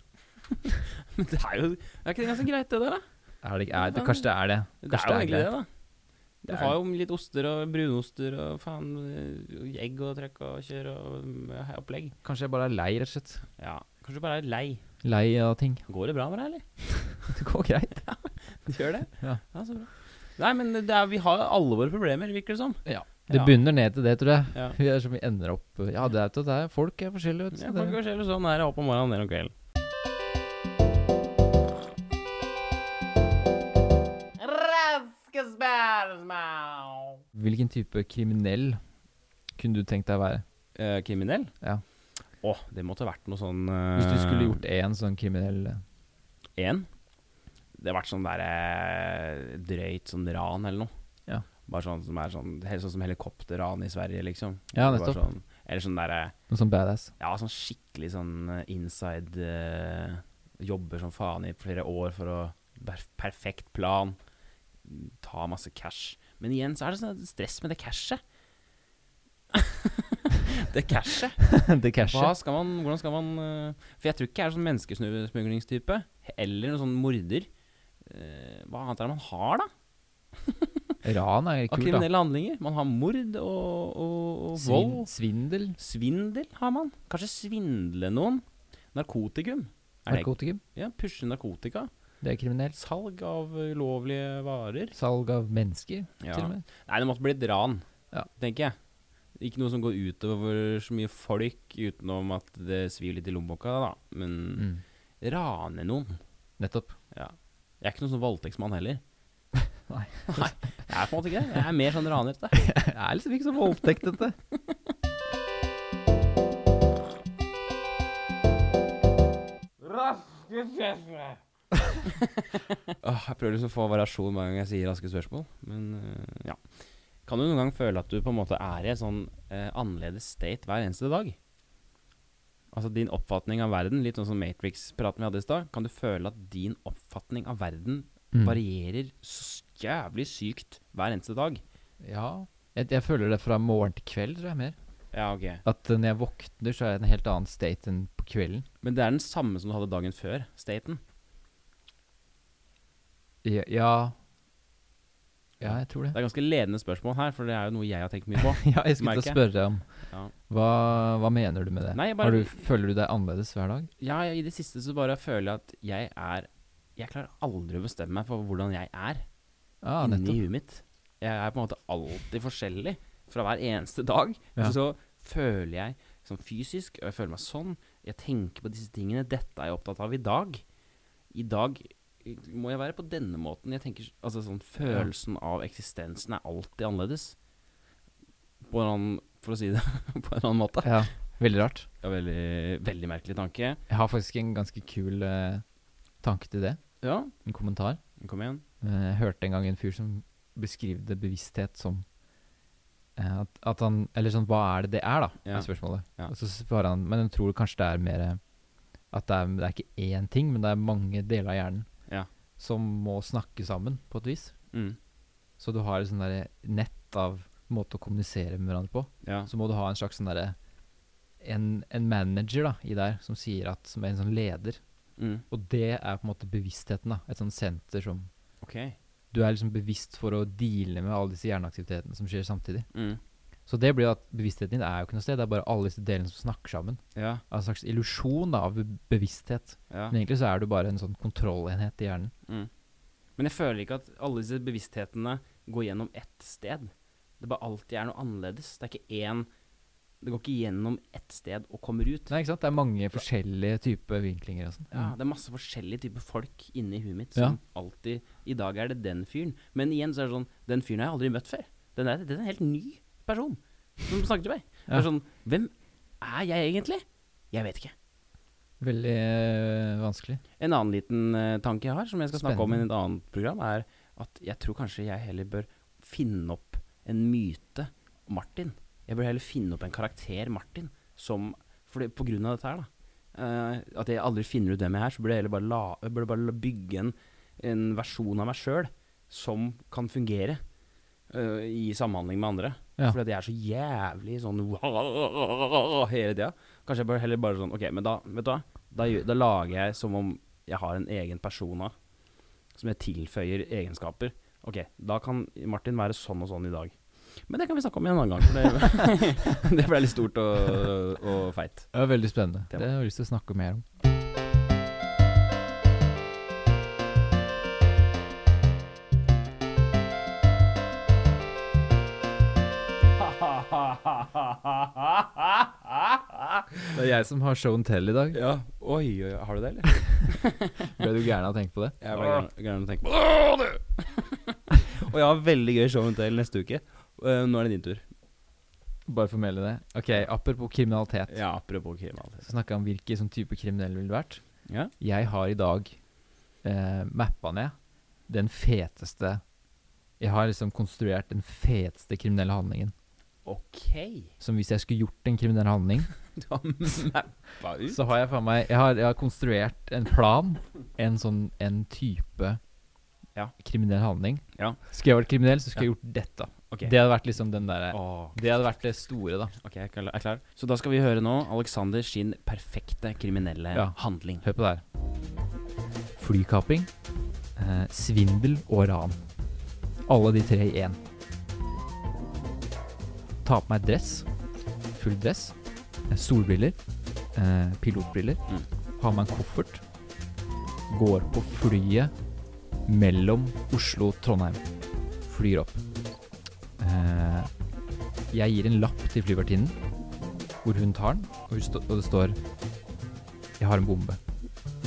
Men det er jo Er ikke det ganske greit, det der, da? Er det, er det, kanskje det er det. Det Kanskje er jo egentlig det, da. Du Det er- har jo litt oster og brunoster og faen øh, egg og trøkk og kjør og øh, opplegg. Kanskje jeg bare er lei, rett og slett. Ja. Kanskje du bare er lei. Lei av ting. [LAUGHS] Går det bra med deg, eller? Det går greit. Det [LAUGHS] gjør det? Ja. så bra. Nei, men det er, vi har alle våre problemer, virker det som. Det Ja. bunner ned til det, tror jeg. Ja. [LAUGHS] Vi er som vi ender opp Ja, det er, det er folk er forskjellige, vet du. Ja, Det- folk er selv sånn her opp om morgenen, ned om kvelden. Hvilken type kriminell kunne du tenkt deg å være? Eh, kriminell? Ja. Å, det måtte vært noe sånn eh, Hvis du skulle gjort én sånn kriminell eh, én. Det har vært sånn der eh, drøyt sånn ran eller noe. Ja. Bare sånn som er sånn Helt sånn som helikopterran i Sverige, liksom. Ja, Bare nettopp. Sånn, eller sånn derre Noe sånn badass. Ja, sånn skikkelig sånn eh, inside eh, Jobber som faen i flere år for å per Perfekt plan. Ta masse cash. Men igjen så er det sånn stress med det cashet. [LAUGHS] det cashet. [LAUGHS] det Hva cashet. skal man, hvordan skal man eh, For jeg tror ikke jeg er sånn menneskesmuglingstype. Eller noen sånn morder. Eh, Hva annet er det man har, da? Ran Av er kult, da. kriminelle handlinger? Man har mord og, og, og vold. Svin, svindel. Svindel har man. Kanskje svindle noen. Narkotikum. Er det, Narkotikum. ja, Pushe narkotika. Det er kriminelt. Salg av ulovlige varer. Salg av mennesker, Ja. til og med. Nei, det måtte bli et ran, Ja. tenker jeg. Ikke noe som går utover så mye folk, utenom at det svir litt i lommeboka, da. Men Mm. rane noen. Nettopp. Ja. Jeg er ikke noen sånn voldtektsmann heller. [LAUGHS] Nei. [LAUGHS] Nei. Jeg er på en måte ikke det. Jeg er mer sånn ranete. Det er liksom ikke så voldtekt, dette. Åh, Jeg prøver liksom å få variasjon hver gang jeg sier raske spørsmål, men øh, ja. Kan du noen gang føle at du på en måte er i et sånn eh, annerledes state hver eneste dag? Altså din oppfatning av verden, litt sånn som Matrix-praten vi hadde i stad, kan du føle at din oppfatning av verden Mm. varierer så jævlig sykt hver eneste dag? Ja. Jeg, jeg føler det fra morgen til kveld, tror jeg mer. Ja, ok. At eh, når jeg våkner, så er jeg i en helt annen state enn på kvelden. Men det er den samme som du hadde dagen før, staten. Ja Ja, ja jeg tror [LAUGHS] det. Det er ganske ledende spørsmål her, for det er jo noe jeg har tenkt mye på. [LAUGHS] Ja, jeg skulle til å Merker spørre om Ja. hva, hva mener du med det? Nei, jeg bare- Har du, føler du deg annerledes hver dag? Ja, jeg- i det siste så bare føler jeg at jeg er Jeg klarer aldri å bestemme meg for hvordan jeg er. Ja, ah, inni nettopp. huet mitt. Jeg er på en måte alltid forskjellig fra hver eneste dag. Ja. Så føler jeg sånn fysisk, og jeg føler meg sånn. Jeg tenker på disse tingene. Dette er jeg opptatt av i dag. I dag eh, må jeg være på denne måten. Jeg tenker, s- altså sånn Følelsen av eksistensen er alltid annerledes. På en annen, for å si det [LAUGHS] på en annen måte. Ja, veldig rart. Ja, veldig, veldig merkelig tanke. Jeg har faktisk en ganske kul eh, tanke til det. Ja, En kommentar. kom igjen. Eh, Jeg hørte en gang en fyr som beskrivde bevissthet som eh, at, at han Eller sånn, hva er det det er, da? Ja. Er spørsmålet. Ja. Og så svarer han Men jeg tror kanskje det er mer eh, At det er, det er ikke én ting, men det er mange deler av hjernen Ja. som må snakke sammen, på et vis. Mm. Så du har et sånn derre nett av måte å kommunisere med hverandre på. Ja. Så må du ha en slags sånn derre en, en manager da, i der som sier at Som er en sånn leder. Mm. Og det er på en måte bevisstheten, da. Et sånt senter som Ok. du er liksom bevisst for å deale med alle disse hjerneaktivitetene som skjer samtidig. Mm. Så det blir jo at bevisstheten din er jo ikke noe sted, det er bare alle disse delene som snakker sammen. Ja. Altså En slags illusjon da, av be- bevissthet. ja. Men egentlig så er du bare en sånn kontrollenhet i hjernen. Mm. Men jeg føler ikke at alle disse bevissthetene går gjennom ett sted. Det bare alltid er noe annerledes. Det er ikke én Det går ikke gjennom ett sted og kommer ut. Nei, ikke sant? Det er mange forskjellige typer vinklinger og sånn. Ja, det er masse forskjellige typer folk inni huet mitt Ja. som alltid I dag er det den fyren. Men igjen så er det sånn Den fyren har jeg aldri møtt før. Den er, den er en helt ny person som snakker til meg. Det Ja. er sånn Hvem er jeg egentlig? Jeg vet ikke. Veldig eh, vanskelig. En annen liten eh, tanke jeg har, som jeg skal snakke om i Spennende. et annet program, er at jeg tror kanskje jeg heller bør finne opp en myte om Martin. Jeg bør heller finne opp en karakter Martin, som for det, På grunn av dette her, da. eh, at jeg aldri finner ut hvem jeg er, så burde jeg heller bare, la, jeg burde bare la- bygge en, en versjon av meg sjøl som kan fungere eh, i samhandling med andre. Ja. Fordi at jeg er så jævlig sånn [LAUGHS] hele tida. Kanskje jeg bør heller bare sånn Ok, men da, vet du hva? Da, gjør- da lager jeg som om jeg har en egen persona som jeg tilføyer egenskaper. Ok, da kan Martin være sånn og sånn i dag. Men det kan vi snakke om i en annen gang, for det, [LAUGHS] det ble litt stort og, og feit. Det er veldig spennende. Tema. Det har jeg lyst til å snakke mer om. Det er jeg som har show and tell i dag. Ja, oi, oi, har du det, eller? Ble du gæren av å tenke på det? Jeg ble gæren- gæren og tenkte Åh, du! [LAUGHS] Og jeg har veldig gøy show til neste uke. Eh, nå er det din tur. Bare formelde det. Ok, apropos kriminalitet. Ja, apropos kriminalitet. Så snakka jeg om hvilken sånn type kriminell ville vært. Ja? Jeg har i dag eh, mappa ned den feteste Jeg har liksom konstruert den feteste kriminelle handlingen. Ok. Som hvis jeg skulle gjort en kriminell handling, [LAUGHS] Du har mappa ut. så har jeg faen meg jeg har, jeg har konstruert en plan. En sånn en type Ja. kriminell handling. Ja. Skulle jeg vært kriminell, så skulle jeg gjort dette. Ok. Det hadde vært liksom den derre Åh. Det hadde vært det store, da. Ok, jeg er klar- jeg er klar. Så da skal vi høre nå Alexander sin perfekte kriminelle Ja. handling. Hør på det her. Flykaping, eh, svindel og ran. Alle de tre i én. Ta på meg dress. Full dress. eh, Solbriller. Eh, pilotbriller. Mm. Ha med en koffert. Går på flyet mellom Oslo og Trondheim. Flyr opp. Eh, jeg gir en lapp til flyvertinnen, hvor hun tar den, og, hun stå- og det står jeg har en bombe.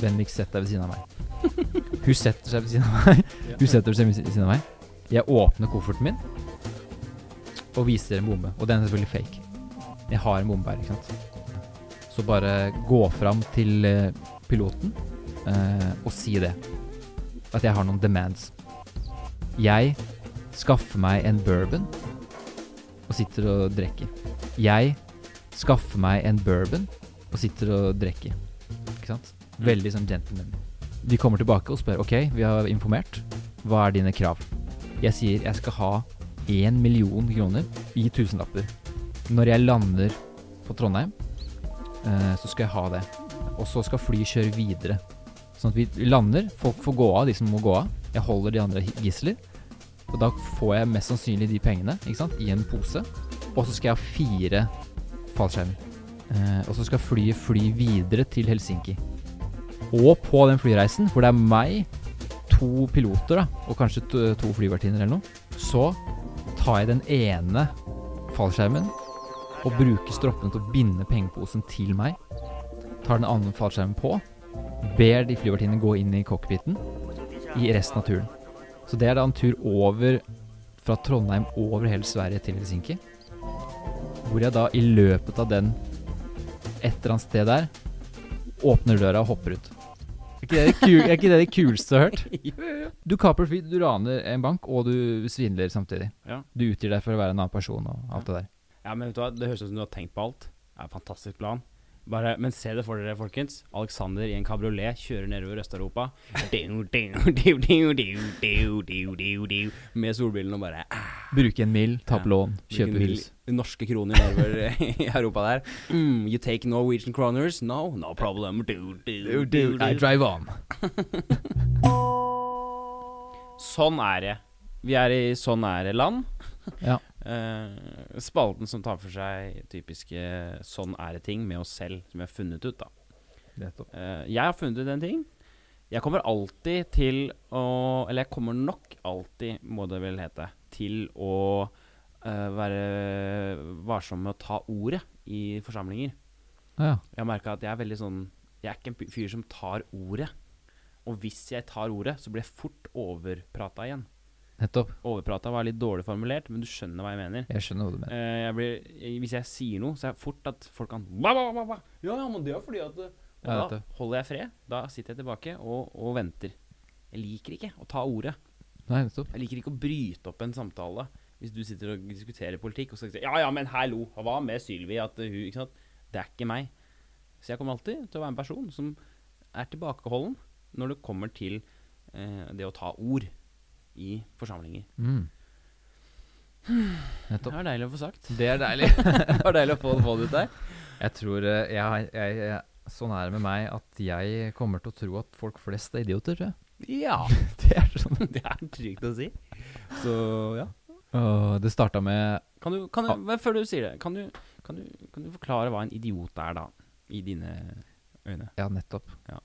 Vennligst sett deg ved siden av meg. Hun setter seg ved siden av meg. Hun setter seg ved siden av meg. Jeg åpner kofferten min og viser en bombe. Og den er selvfølgelig fake. Jeg har en bombe her, ikke sant. Så bare gå fram til eh, piloten eh, og si det. At jeg har noen demands. Jeg skaffer meg en bourbon og sitter og drikker. Jeg skaffer meg en bourbon og sitter og drikker. Ikke sant? Veldig sånn gentleman. De kommer tilbake og spør OK, vi har informert. Hva er dine krav? Jeg sier jeg skal ha én million kroner i tusenlapper. Når jeg lander på Trondheim, eh, så skal jeg ha det. Og så skal flyet kjøre videre. Sånn at vi lander. Folk får gå av, de som må gå av. Jeg holder de andre gisler. Og da får jeg mest sannsynlig de pengene ikke sant? i en pose. Og så skal jeg ha fire fallskjermer. Eh, og så skal flyet fly videre til Helsinki. Og på den flyreisen, hvor det er meg, to piloter da, og kanskje to, to flyvertinner eller noe, så tar jeg den ene fallskjermen og bruker stroppene til å binde pengeposen til meg. Tar den andre fallskjermen på, ber de flyvertinnene gå inn i cockpiten i resten av turen. Så det er da en tur over fra Trondheim over hele Sverige til Helsinki. Hvor jeg da i løpet av den et eller annet sted der åpner døra og hopper ut. Er ikke det det, ku- er ikke det, det kuleste du har hørt? Du kaper fly, du raner en bank, og du svindler samtidig. Ja. Du utgir deg for å være en annen person og alt det der. Ja, men vet du hva, Det høres ut som du har tenkt på alt. Det er en fantastisk plan. Bare, men se det for dere, folkens. Alexander i en kabriolet kjører nedover Øst-Europa. Du, [LAUGHS] du, du, du, du, du, du, du, du. Med solbrillene og bare ah, Bruke en mill, ta Ja. på lån, kjøpe hvilken vil- hus. Norske kroner nedover eh, [LAUGHS] i Europa der. Mm, you take Norwegian kroners? No, no problem. Du, du, du, I du. drive on. Sånn er det. Vi er i Sånn er det-land. Ja. Eh, spalten som tar for seg typiske sånn er det-ting med oss selv, som vi har funnet ut, da. Eh, jeg har funnet ut en ting. Jeg kommer alltid til å Eller jeg kommer nok alltid, må det vel hete, til å eh, være varsom med å ta ordet i forsamlinger. Ja, Jeg har merka at jeg er veldig sånn Jeg er ikke en fyr som tar ordet. Og hvis jeg tar ordet, så blir jeg fort overprata igjen. nettopp. Overprata var litt dårlig formulert, men du skjønner hva jeg mener. Jeg skjønner hva du mener. Eh, jeg blir, jeg- hvis jeg sier noe, så er det fort at folk kan «Hva, hva, hva, hva?» Ja, ja, men det er fordi at eh», Og Ja, da dette. holder jeg fred. Da sitter jeg tilbake og, og venter. Jeg liker ikke å ta ordet. Nei, nettopp. Jeg liker ikke å bryte opp en samtale. Hvis du sitter og diskuterer politikk, og så sier Ja, ja, men hallo, hva med Sylvi? At eh, hun Ikke sant? Det er ikke meg. Så jeg kommer alltid til å være en person som er tilbakeholden når det kommer til eh, det å ta ord i forsamlinger. Mm. Det Nettopp. er deilig å få sagt. Det er deilig. [LAUGHS] Det var deilig å få det ut der. Jeg tror eh, jeg, har- jeg, jeg Sånn er det med meg at jeg kommer til å tro at folk flest er idioter, tror jeg. Ja. [LAUGHS] Det er sånn. Det er trygt å si. Så ja. Åh, det starta med Kan du, kan du, men før du sier det, kan du, kan, du, kan du forklare hva en idiot er, da? I dine øyne. Ja, nettopp. Ja.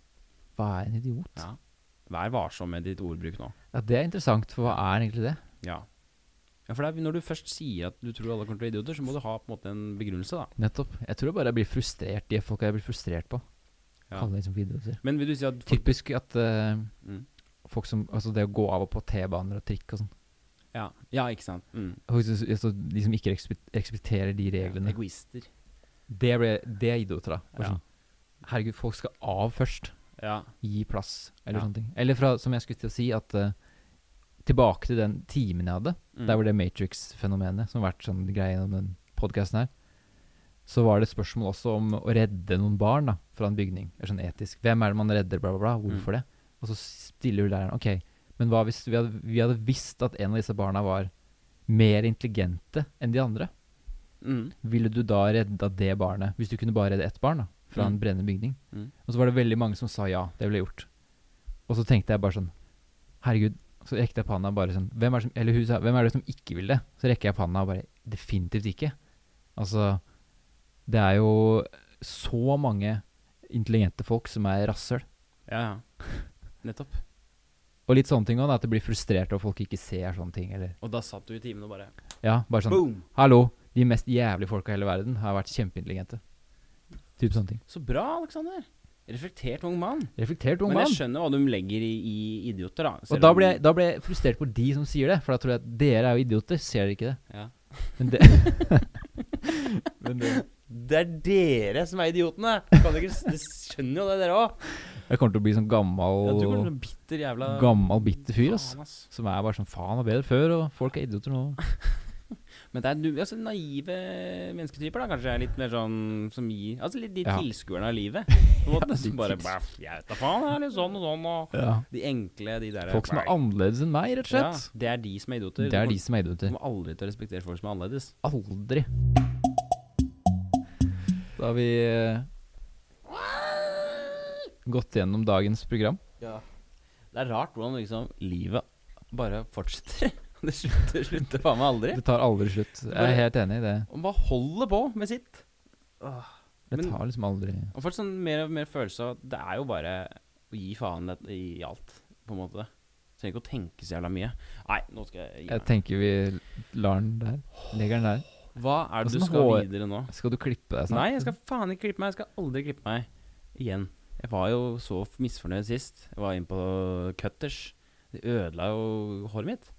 Hva er en idiot? Ja. Ja. Vær varsom med ditt ordbruk nå. Det er interessant, for hva er egentlig det? Ja. ja for det er, når du først sier at du tror alle kommer til å være idioter, så må du ha på en måte en begrunnelse, da. Nettopp. Jeg tror bare jeg blir frustrert. De folka jeg blir frustrert på, Ja. kaller jeg liksom for idioter. Men vil du si at folk, Typisk at eh, Mm. folk som Altså det å gå av og på T-baner og trikk og sånn. ja, ja, ikke sant. Mm. Folk som- altså, De som ikke respe- respekterer de reglene. Egoister. Det, ble, det er idioter, da. Bare Ja. Sånn. Herregud, folk skal av først. Ja. Gi plass, eller Ja. sånne ting. Eller fra, som jeg skulle til å si, at eh, tilbake til den timen jeg hadde. Mm. Der var det Matrix-fenomenet som har vært sånn greie gjennom den podkasten her. Så var det et spørsmål også om å redde noen barn da, fra en bygning. Eller sånn etisk. Hvem er det man redder, bla, bla, bla. Hvorfor det? Og så stiller jo læreren OK, men hva hvis vi hadde, vi hadde visst at en av disse barna var mer intelligente enn de andre? mm. Ville du da redda det barnet, hvis du kunne bare redde ett barn da, fra Mm. en brennende bygning? Mm. Og så var det veldig mange som sa ja, det ville jeg gjort. Og så tenkte jeg bare sånn, herregud, så rekte jeg panna bare sånn, hvem er, det som, eller hun sa, hvem er det som ikke vil det? Så rekker jeg panna og bare, definitivt ikke. Altså, det er jo så mange intelligente folk som er rassøl. Ja, ja. Nettopp. Og litt sånne ting også, da, at det blir frustrert over folk ikke ser sånne ting, eller, Og da satt du i timen og bare ja, bare sånn, boom! hallo, de mest jævlige folka i hele verden har vært kjempeintelligente. Typ sånne ting. Så bra, Alexander. Reflektert ung mann. Reflektert ung Men mann. jeg skjønner hva de legger i, i idioter, da. Og Selv da om- ble, jeg, da ble jeg frustrert på de som sier det, for da tror jeg at dere er jo idioter. Ser dere ikke det? ja. Men det, [LAUGHS] men det Det er dere som er idiotene! Kan dere, dere skjønner jo det, dere òg. Jeg kommer til å bli sånn Ja, du kommer gammal, til å bli bitter jævla gammal bitter fyr, ass. Faen, ass. Som er bare sånn faen var bedre før, og folk er idioter nå. Men det er nu- altså, naive mennesketyper, da, kanskje. Litt mer sånn som gir Altså litt de Ja. tilskuerne av [LAUGHS] livet. På en måte, som bare tils- "Bæ, Jeg vet da faen, jeg er litt sånn og sånn, og De enkle, de der Folk som er "Bæ." annerledes enn meg, rett og Ja, slett. det er de som er idioter. Det er de som som er idioter. Kommer aldri til å respektere folk som er annerledes. Aldri. Da har vi eh, gått gjennom dagens program. Det er rart hvordan liksom livet bare fortsetter. [LAUGHS] Det slutter, slutter faen meg aldri. Det tar aldri slutt. Jeg er helt enig i det. Og bare holder på med sitt. Det Men- tar liksom aldri Og får sånn mer og mer følelse av at det er jo bare å gi faen i- i alt, på en måte. Trenger ikke å tenke så jævla mye. Nei, nå skal jeg gi Jeg meg. tenker vi lar den der. Legger den der. Hva er det du Hvordan skal hår- videre nå? Skal du klippe deg snart? Nei, jeg skal faen ikke klippe meg. Jeg skal aldri klippe meg igjen. Jeg var jo så f- misfornøyd sist. Jeg var inne på Cutters. Det ødela jo håret mitt.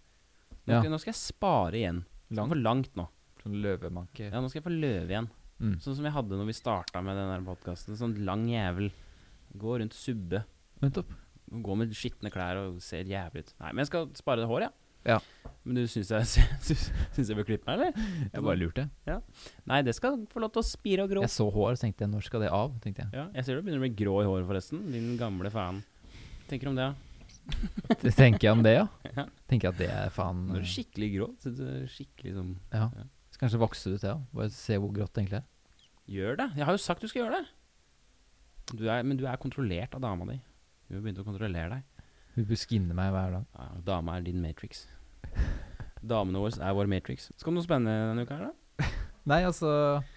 Nå, Ja. skal- nå skal jeg spare igjen. Langt. For langt nå. Sånn løvemanke. Ja, nå skal jeg få løve igjen. Mm. Sånn som jeg hadde når vi starta med den podkasten. Sånn lang jævel. Gå rundt subbe. Nettopp. Gå med skitne klær og ser jævlig ut. Nei, men jeg skal spare det håret, Ja. Men du syns jeg, [LAUGHS] syns syns jeg bør klippe meg, eller? Jeg bare lurte. Nei, det skal få lov til å spire og gro. Jeg så hår, så tenkte jeg når skal det av? tenkte jeg. Ja, jeg ser du begynner å bli grå i håret, forresten. Din gamle faen. Tenker du om det, da? Det tenker jeg om det, ja. Ja. Tenker jeg at det er faen Nå er eh, du skikkelig grå. Så du er skikkelig som Ja. Skal kanskje vokse ut, ja. Bare se hvor grått det egentlig er. Gjør det! Jeg har jo sagt du skal gjøre det! Du er, men du er kontrollert av dama di. Hun har begynt å kontrollere deg. Hun bør skinne meg hver dag. Ja, dama er din Matrix. Damene våre er vår Matrix. Skal det noe spennende denne uka her, da? Nei, altså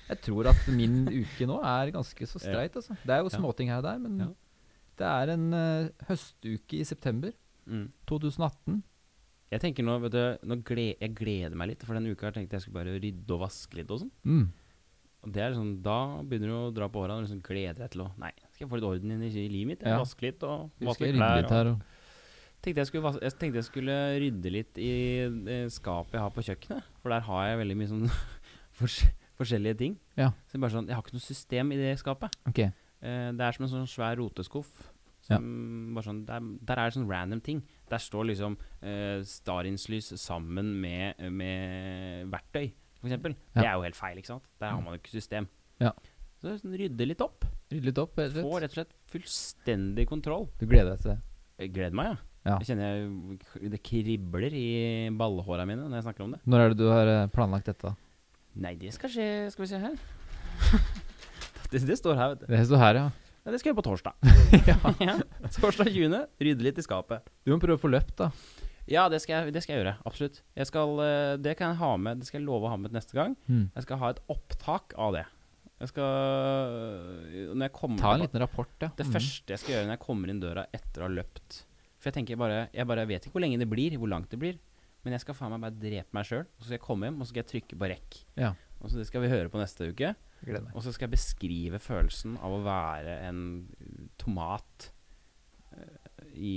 Jeg tror at min uke nå er ganske så streit, altså. Det er jo Ja. småting her og der, men Ja. det er en eh, høstuke i september Mm. 2018. Jeg tenker nå, vet du, nå gled, jeg gleder meg litt, for denne uka her tenkte jeg skulle bare rydde og vaske litt og sånn. Mm. Og det er liksom, Da begynner du å dra på håra og liksom gleder deg til å Nei, skal jeg få litt orden inn i i livet mitt? Jeg Ja. Vaske litt og Husker vaske jeg litt klær. rydde litt her og Og, tenkte jeg, skulle, vas- jeg tenkte jeg skulle rydde litt i eh, skapet jeg har på kjøkkenet, for der har jeg veldig mye sånn [LAUGHS] fors forskjellige ting. Ja. Så det er bare sånn, Jeg har ikke noe system i det skapet. Ok. Eh, det er som en sånn svær roteskuff. Ja. Som bare sånn, der, der er det sånn random ting. Der står liksom eh, stearinslys sammen med, med verktøy, for eksempel. Ja. Det er jo helt feil, ikke sant? Der har man jo ikke system. Ja. Så det er sånn, rydde litt opp. Rydde litt opp, rett Få og slett. rett og slett fullstendig kontroll. Du gleder deg til det. Jeg gleder meg, ja. Ja. Jeg kjenner jeg, det kribler i ballehåra mine når jeg snakker om det. Når er det du har eh, planlagt dette? Nei, det skal skje Skal vi se her. [LAUGHS] det, det står her, vet du. Det står her, ja. Ja, det skal jeg gjøre på torsdag. [LAUGHS] ja. Torsdag 20. Rydde litt i skapet. Du må prøve å få løpt, da. Ja, det skal jeg, det skal jeg gjøre. Absolutt. Jeg skal, eh, det kan jeg ha med Det skal jeg love å ha med til neste gang. Mm. Jeg skal ha et opptak av det. Jeg skal øh, Når jeg kommer Ta en liten rapport, ja. Det Mm. første jeg skal gjøre når jeg kommer inn døra etter å ha løpt For jeg tenker bare Jeg bare vet ikke hvor lenge det blir, hvor langt det blir. Men jeg skal faen meg bare drepe meg sjøl. Og så skal jeg komme hjem, og så skal jeg trykke på rekk. Ja. Og så Det skal vi høre på neste uke. Jeg Gleder meg. Og så skal jeg beskrive følelsen av å være en tomat eh, i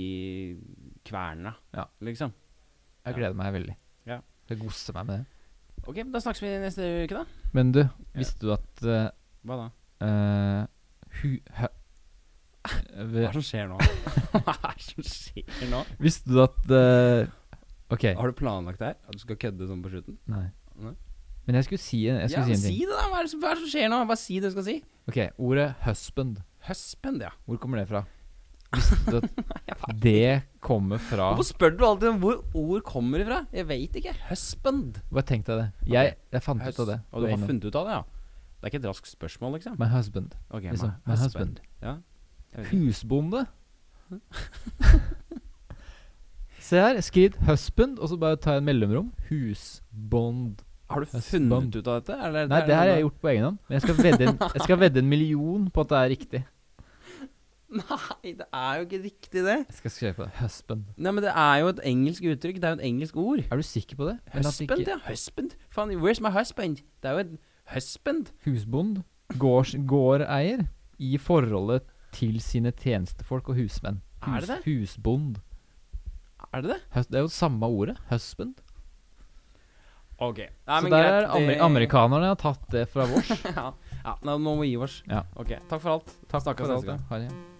kverna, Ja. liksom. Jeg gleder meg veldig. Ja. Jeg godser meg med det. Ok, da snakkes vi neste uke, da. Men du, visste du at eh, Hva da? eh, hu, hø, [LAUGHS] Hva ved, er det som [LAUGHS] skjer nå? Hva er det som skjer nå? Visste du at eh, Ok. Har du planlagt det her? At du skal kødde sånn på slutten? Nei. Nei. Men jeg skulle si, jeg Ja, skulle men si en si ting. det, da! Hva er det som, hva er det som skjer nå? Bare si det du skal si. Ok, Ordet 'husband', Husband, ja. hvor kommer det [LAUGHS] fra? Visste du at det kommer fra Hvorfor spør du alltid om hvor ord kommer ifra? Jeg veit ikke. Husband. Bare tenk deg det. Jeg, jeg fant Hus- ut av det. Og du på egen har hånd. funnet ut av det, ja? Det er ikke et raskt spørsmål, liksom? My husband. Ok, my Liksom, my husband. Ja. Jeg vet ikke. Husbonde. [LAUGHS] Se her. Skriv 'husband', og så bare ta en mellomrom. Husbond. Har du Husband. funnet ut av dette? Eller, Nei, det her har jeg noe- gjort på egen hånd. Men jeg skal, vedde en, jeg skal vedde en million på at det er riktig. [LAUGHS] Nei, det er jo ikke riktig, det. Jeg skal skrive på det. Husband. Nei, men det er jo et engelsk uttrykk. Det er jo et engelsk ord. Er du sikker på det? Men at det Husband, ikke- ja. Husband. Faen, where's my husband? Det er jo et husband. Husbond. Gårds, gårdeier. I forholdet til sine tjenestefolk og husmenn. Er det det? Husbond. Er det det? Hus, det er jo samme ordet. Husband. Ok. Nei, så men der greit, er amer det- amerikanerne har tatt det fra vårs. [LAUGHS] ja. ja, nå må vi gi oss. Ja. Ok, takk for alt. Takk Snakkes for neste alt. gang. ja. Ha det.